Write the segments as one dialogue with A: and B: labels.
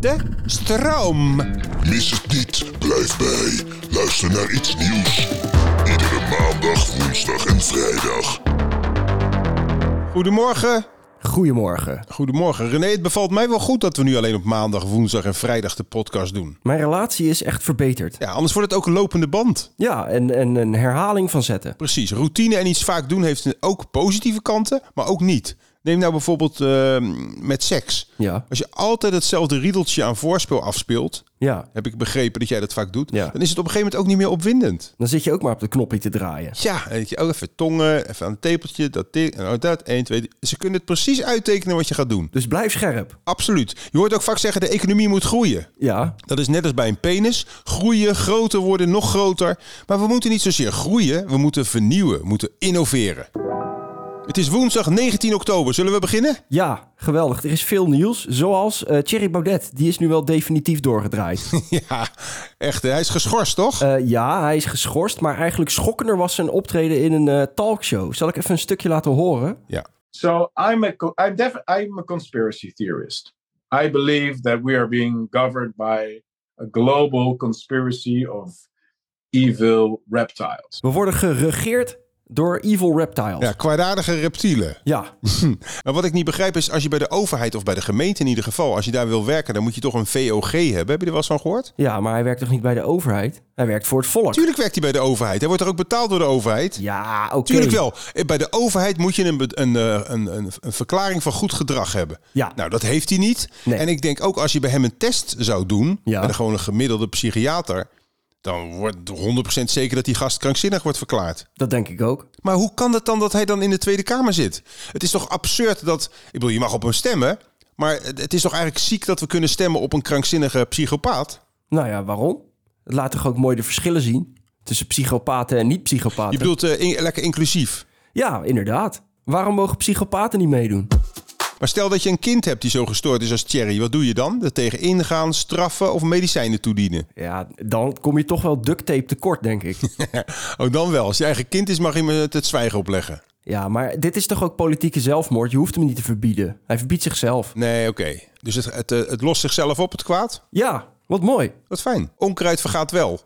A: De stroom.
B: Mis het niet, blijf bij. Luister naar iets nieuws. Iedere maandag, woensdag en vrijdag.
A: Goedemorgen.
C: Goedemorgen.
A: Goedemorgen. René, het bevalt mij wel goed dat we nu alleen op maandag, woensdag en vrijdag de podcast doen.
C: Mijn relatie is echt verbeterd.
A: Ja, anders wordt het ook een lopende band.
C: Ja, en, en een herhaling van zetten.
A: Precies. Routine en iets vaak doen heeft ook positieve kanten, maar ook niet. Neem nou bijvoorbeeld eh, met seks.
C: Ja.
A: Als je altijd hetzelfde riedeltje aan voorspel afspeelt,
C: Ja,
A: heb ik begrepen dat jij dat vaak doet,
C: Ja.
A: dan is het op een gegeven moment ook niet meer opwindend.
C: dan zit je ook maar op de knopje te draaien.
A: Ja, weet je, ook even tongen, even aan het tepeltje, dat, dit en ook dat, 1, 2, Ze kunnen het precies uittekenen wat je gaat doen.
C: Dus blijf scherp.
A: Absoluut. Je hoort ook vaak zeggen, de economie moet groeien.
C: Ja,
A: Dat is net als bij een penis. Groeien, groter worden, nog groter. Maar we moeten niet zozeer groeien, we moeten vernieuwen, we moeten innoveren. Het is woensdag 19 oktober. Zullen we beginnen?
C: ja, geweldig. Er is veel nieuws. Zoals eh Thierry Baudet. Die is nu wel definitief doorgedraaid.
A: Ja, echt. hè? Hij is geschorst, toch?
C: Eh, ja, hij is geschorst. Maar eigenlijk schokkender was zijn optreden in een eh, talkshow. Zal ik even een stukje laten horen?
A: Ja.
D: So I'm a co- I'm def- I'm a conspiracy theorist. I believe that we are being governed by a global conspiracy of evil reptiles.
C: We worden geregeerd door evil reptiles.
A: Ja, kwaadaardige reptielen.
C: ja.
A: Maar wat ik niet begrijp is, als je bij de overheid of bij de gemeente in ieder geval, als je daar wil werken, dan moet je toch een VOG hebben. Heb je er wel eens van gehoord?
C: Ja, maar hij werkt toch niet bij de overheid? Hij werkt voor het volk.
A: Tuurlijk werkt hij bij de overheid. Hij wordt er ook betaald door de overheid.
C: Ja, oké.
A: Tuurlijk wel. Eh, Bij de overheid moet je een, be- een, eh, een, een, een verklaring van goed gedrag hebben.
C: Ja.
A: Nou, dat heeft hij niet.
C: Nee.
A: En ik denk ook als je bij hem een test zou doen,
C: Ja.
A: met een gewoon een gemiddelde psychiater, dan wordt 100% zeker dat die gast krankzinnig wordt verklaard.
C: Dat denk ik ook.
A: Maar hoe kan het dan dat hij dan in de Tweede Kamer zit? Het is toch absurd dat. Ik bedoel, je mag op hem stemmen. Maar het het is toch eigenlijk ziek dat we kunnen stemmen op een krankzinnige psychopaat?
C: Nou ja, waarom? Het laat toch ook mooi de verschillen zien tussen psychopaten en
A: Je
C: niet-psychopaten.
A: bedoelt eh, in- lekker inclusief.
C: Ja, inderdaad. Waarom mogen psychopaten niet meedoen?
A: Maar stel dat je een kind hebt die zo gestoord is als Thierry, wat doe je dan? Er tegen ingaan, straffen of medicijnen toedienen?
C: Ja, dan kom je toch wel duct tape tekort, denk ik.
A: Oh, dan wel. Als je eigen kind is, mag je me het- het zwijgen opleggen.
C: ja, maar dit is toch ook politieke zelfmoord? Je hoeft hem niet te verbieden. Hij verbiedt zichzelf.
A: Nee, oké. Dus het, het, eh, het lost zichzelf op, het kwaad?
C: Ja, wat mooi.
A: Wat fijn. Onkruid vergaat wel.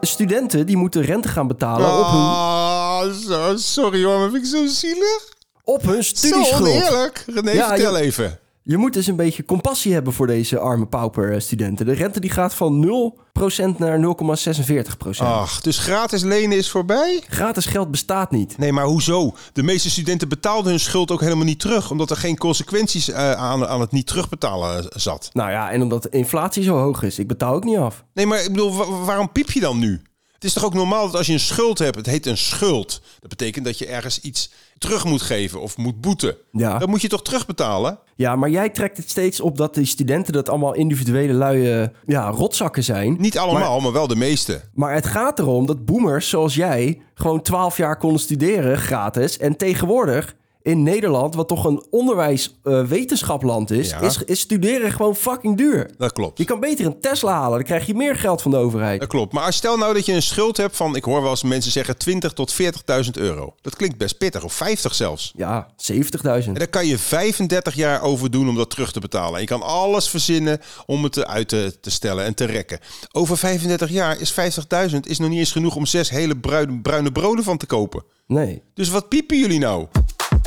C: Studenten die moeten rente gaan betalen op hun,
A: Ah, zo- sorry hoor, maar vind ik zo zielig.
C: op hun
A: Zo
C: studieschuld.
A: oneerlijk. René,
C: Ja,
A: vertel
C: je-
A: even.
C: Je moet dus een beetje compassie hebben voor deze arme pauper eh, studenten. De rente die gaat van 0% naar 0,46%.
A: Ach, dus gratis lenen is voorbij?
C: Gratis geld bestaat niet.
A: Nee, maar hoezo? De meeste studenten betaalden hun schuld ook helemaal niet terug, omdat er geen consequenties eh, aan, aan het niet terugbetalen eh, zat.
C: Nou ja, en omdat de inflatie zo hoog is. Ik betaal ook niet af.
A: Nee, maar ik bedoel, wa- wa- waarom piep je dan nu? Het is toch ook normaal dat als je een schuld hebt, het heet een schuld. Dat betekent dat je ergens iets terug moet geven of moet boeten.
C: Ja.
A: Dat moet je toch terugbetalen?
C: Ja, maar jij trekt het steeds op dat die studenten dat allemaal individuele luie ja, rotzakken zijn.
A: Niet allemaal, maar, wel de meeste.
C: Maar het gaat erom dat boomers zoals jij gewoon 12 jaar konden studeren gratis. En tegenwoordig in Nederland, wat toch een onderwijs-wetenschapland is,
A: Ja.
C: is, is studeren gewoon fucking duur.
A: Dat klopt.
C: Je kan beter een Tesla halen, dan krijg je meer geld van de overheid.
A: Dat klopt. Maar als- stel nou dat je een schuld hebt van, ik hoor wel eens mensen zeggen 20 tot 40.000 euro. Dat klinkt best pittig, of 50 zelfs.
C: Ja, 70.000.
A: En daar kan je 35 jaar over doen om dat terug te betalen. En je kan alles verzinnen om het uit te, te stellen en te rekken. Over 35 jaar is 50.000 is nog niet eens genoeg om zes hele bruine, bruine broden van te kopen.
C: Nee.
A: Dus wat piepen jullie nou?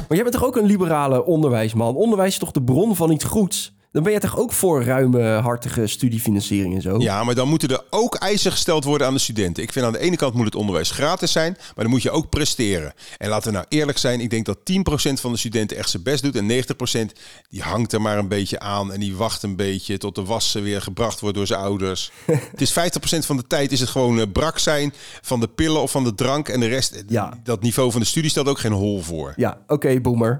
C: Maar jij bent toch ook een liberale onderwijsman? Onderwijs is toch de bron van iets goeds? Dan ben jij toch ook voor ruimhartige studiefinanciering en zo?
A: Ja, maar dan moeten er ook eisen gesteld worden aan de studenten. Ik vind aan de ene kant moet het onderwijs gratis zijn, maar dan moet je ook presteren. En laten we nou eerlijk zijn, ik denk dat 10% van de studenten echt zijn best doet en 90% die hangt er maar een beetje aan en die wacht een beetje tot de wassen weer gebracht wordt door zijn ouders. het is 50% van de tijd is het gewoon eh, brak zijn van de pillen of van de drank en de rest, eh,
C: Ja.
A: dat niveau van de studie stelt ook geen hol voor.
C: Ja, oké, boomer.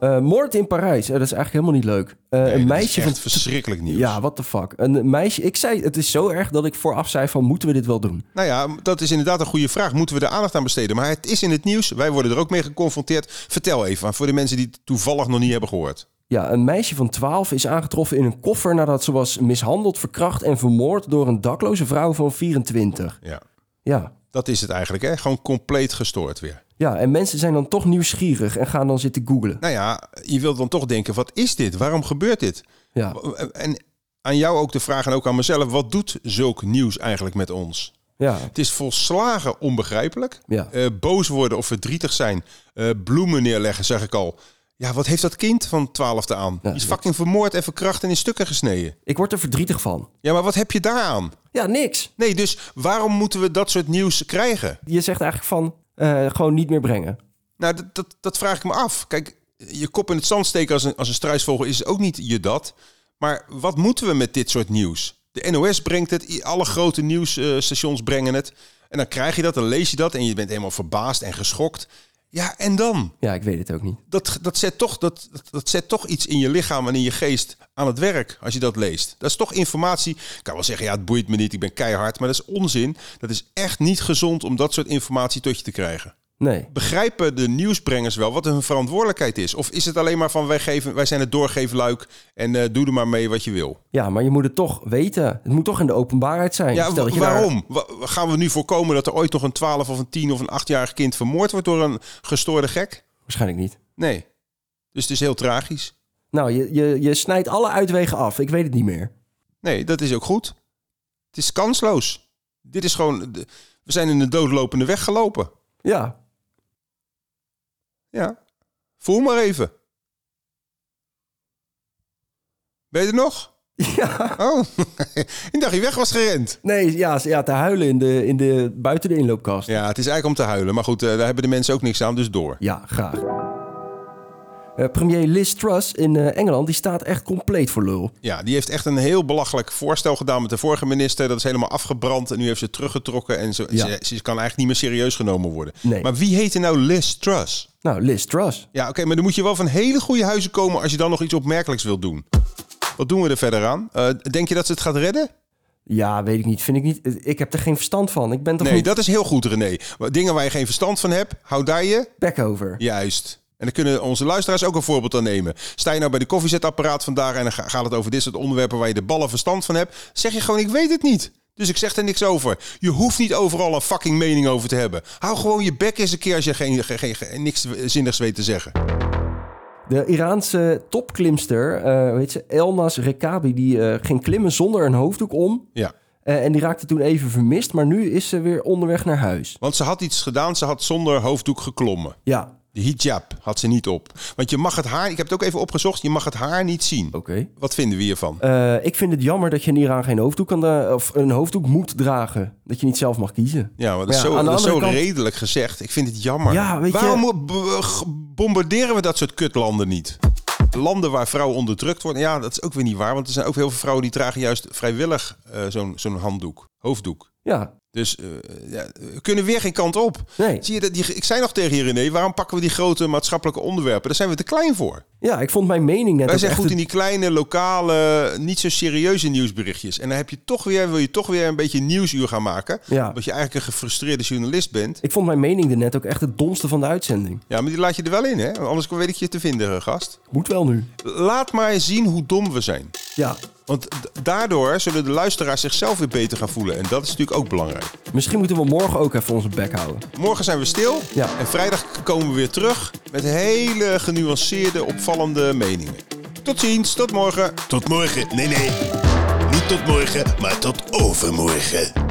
C: Eh, moord in Parijs. Eh, dat is eigenlijk helemaal niet leuk. Eh,
A: Nee,
C: een
A: dat
C: meisje
A: is
C: van
A: echt verschrikkelijk nieuws.
C: Ja, what the fuck. Een meisje, ik zei, het is zo erg dat ik vooraf zei van, moeten we dit wel doen?
A: Nou ja, dat is inderdaad een goede vraag. Moeten we er aandacht aan besteden? Maar het is in het nieuws. Wij worden er ook mee geconfronteerd. Vertel even, maar voor de mensen die het toevallig nog niet hebben gehoord.
C: Ja, een meisje van 12 is aangetroffen in een koffer nadat ze was mishandeld, verkracht en vermoord door een dakloze vrouw van 24.
A: Ja.
C: Ja.
A: Dat is het eigenlijk, hè? Gewoon compleet gestoord weer.
C: Ja, en mensen zijn dan toch nieuwsgierig en gaan dan zitten googlen.
A: Nou ja, je wilt dan toch denken, wat is dit? Waarom gebeurt dit?
C: Ja.
A: En aan jou ook de vraag en ook aan mezelf. Wat doet zulk nieuws eigenlijk met ons?
C: Ja.
A: Het is volslagen onbegrijpelijk.
C: Ja.
A: Eh, boos worden of verdrietig zijn. Eh, bloemen neerleggen, zeg ik al. Ja, wat heeft dat kind van 12 aan? Die is fucking vermoord en verkracht en in stukken gesneden.
C: Ik word er verdrietig van.
A: Ja, maar wat heb je daaraan?
C: Ja, niks.
A: Nee, dus waarom moeten we dat soort nieuws krijgen?
C: Je zegt eigenlijk van, eh, gewoon niet meer brengen.
A: Nou, dat, dat, dat vraag ik me af. Kijk, je kop in het zand steken als een, als een struisvogel is ook niet je dat. Maar wat moeten we met dit soort nieuws? De NOS brengt het, i- alle grote nieuwsstations brengen het. En dan krijg je dat, dan lees je dat en je bent helemaal verbaasd en geschokt. Ja, en dan?
C: Ja, ik weet het ook niet.
A: Dat, dat, zet toch, dat, dat- dat zet toch iets in je lichaam en in je geest aan het werk als je dat leest. Dat is toch informatie. Ik kan wel zeggen, ja, het boeit me niet, ik ben keihard. Maar dat is onzin. Dat is echt niet gezond om dat soort informatie tot je te krijgen.
C: Nee.
A: Begrijpen de nieuwsbrengers wel wat hun verantwoordelijkheid is? Of is het alleen maar van wij, geven, wij zijn het doorgeefluik en eh, doe er maar mee wat je wil?
C: Ja, maar je moet het toch weten. Het moet toch in de openbaarheid zijn.
A: Ja,
C: Stel dat je daar-
A: waarom? Wa- Gaan we nu voorkomen dat er ooit nog een 12 of een 10 of een 8-jarig kind vermoord wordt door een gestoorde gek?
C: Waarschijnlijk niet.
A: Nee. Dus het is heel tragisch.
C: Nou, je, je, je snijdt alle uitwegen af. Ik weet het niet meer.
A: Nee, dat is ook goed. Het is kansloos. Dit is gewoon. de- We zijn in de doodlopende weg gelopen.
C: Ja,
A: Ja. Voel maar even. Ben je er nog?
C: Ja.
A: Oh, ik dacht je weg was gerend.
C: Nee, ja, ze- ja te huilen in de, in de, buiten de inloopkast. Ja,
A: Ja, het is eigenlijk om te huilen. Maar goed, eh, daar hebben de mensen ook niks aan, dus door.
C: graag. Eh, premier Liz Truss in eh, Engeland, die staat echt compleet voor lul.
A: Ja, die heeft echt een heel belachelijk voorstel gedaan met de vorige minister. Dat is helemaal afgebrand en nu heeft ze het teruggetrokken. En ze,
C: Ja.
A: ze, ze kan eigenlijk niet meer serieus genomen worden.
C: Nee.
A: Maar wie heette nou Liz Truss?
C: Nou, Liz Truss.
A: Ja, oké, maar dan moet je wel van hele goede huizen komen als je dan nog iets opmerkelijks wilt doen. Wat doen we er verder aan? Eh, denk je dat ze het gaat redden?
C: Ja, weet ik niet. Vind ik niet. eh, Ik heb er geen verstand van. Ik ben toch
A: Nee,
C: niet
A: dat is heel goed, René. Maar Dingen waar je geen verstand van hebt, hou daar je
C: back over.
A: Juist. En dan kunnen onze luisteraars ook een voorbeeld aan nemen. Sta je nou bij de koffiezetapparaat vandaag en dan ga- gaat het over dit soort onderwerpen waar je de ballen verstand van hebt, zeg je gewoon: Ik weet het niet. Dus ik zeg er niks over. Je hoeft niet overal een fucking mening over te hebben. Hou gewoon je bek eens een keer als je geen, geen, geen- geen- niks eh, zinnigs weet te zeggen.
C: De Iraanse topklimster, eh weet ze, Elmas Rekabi, die eh, ging klimmen zonder een hoofddoek om.
A: Ja.
C: Eh, en die raakte toen even vermist, maar nu is ze weer onderweg naar huis.
A: Want ze had iets gedaan, ze had zonder hoofddoek geklommen.
C: Ja,
A: De hijab had ze niet op. Want je mag het haar, ik heb het ook even opgezocht, je mag het haar niet zien.
C: oké.
A: Wat vinden we hiervan?
C: Eh, ik vind het jammer dat je in Iran geen hoofddoek kan dra- of een hoofddoek moet dragen. Dat je niet zelf mag kiezen.
A: Ja, maar dat is
C: maar ja,
A: zo,
C: aan de
A: dat is zo
C: andere kant-
A: redelijk gezegd. Ik vind het jammer.
C: Ja, weet je-
A: Waarom mo- b- g- bombarderen we dat soort kutlanden niet? Landen waar vrouwen onderdrukt worden. Ja, dat is ook weer niet waar. Want er zijn ook heel veel vrouwen die dragen juist vrijwillig eh, zo'n zo'n handdoek, hoofddoek.
C: Ja,
A: Dus eh, ja, we kunnen weer geen kant op.
C: nee.
A: Zie je, dat, die, ik zei nog tegen je René, waarom pakken we die grote maatschappelijke onderwerpen? Daar zijn we te klein voor.
C: Ja, ik vond mijn mening net
A: Wij
C: ook
A: zijn
C: echt
A: goed in
C: het-
A: die kleine, lokale, niet zo serieuze nieuwsberichtjes. En dan heb je toch weer, wil je toch weer een beetje een nieuwsuur gaan maken.
C: Ja.
A: Omdat je eigenlijk een gefrustreerde journalist bent.
C: Ik vond mijn mening er net ook echt het domste van de uitzending.
A: Ja, maar die laat je er wel in, hè? Want Anders weet ik je te vinden, eh, gast.
C: Moet wel nu.
A: Laat maar zien hoe dom we zijn.
C: Ja,
A: Want d- daardoor zullen de luisteraars zichzelf weer beter gaan voelen. En dat is natuurlijk ook belangrijk.
C: misschien moeten we morgen ook even onze bek houden.
A: Morgen zijn we stil.
C: Ja.
A: En vrijdag k- komen we weer terug met hele genuanceerde, opvallende meningen. Tot ziens, tot morgen.
E: Tot morgen. Nee, nee. Niet tot morgen, maar tot overmorgen.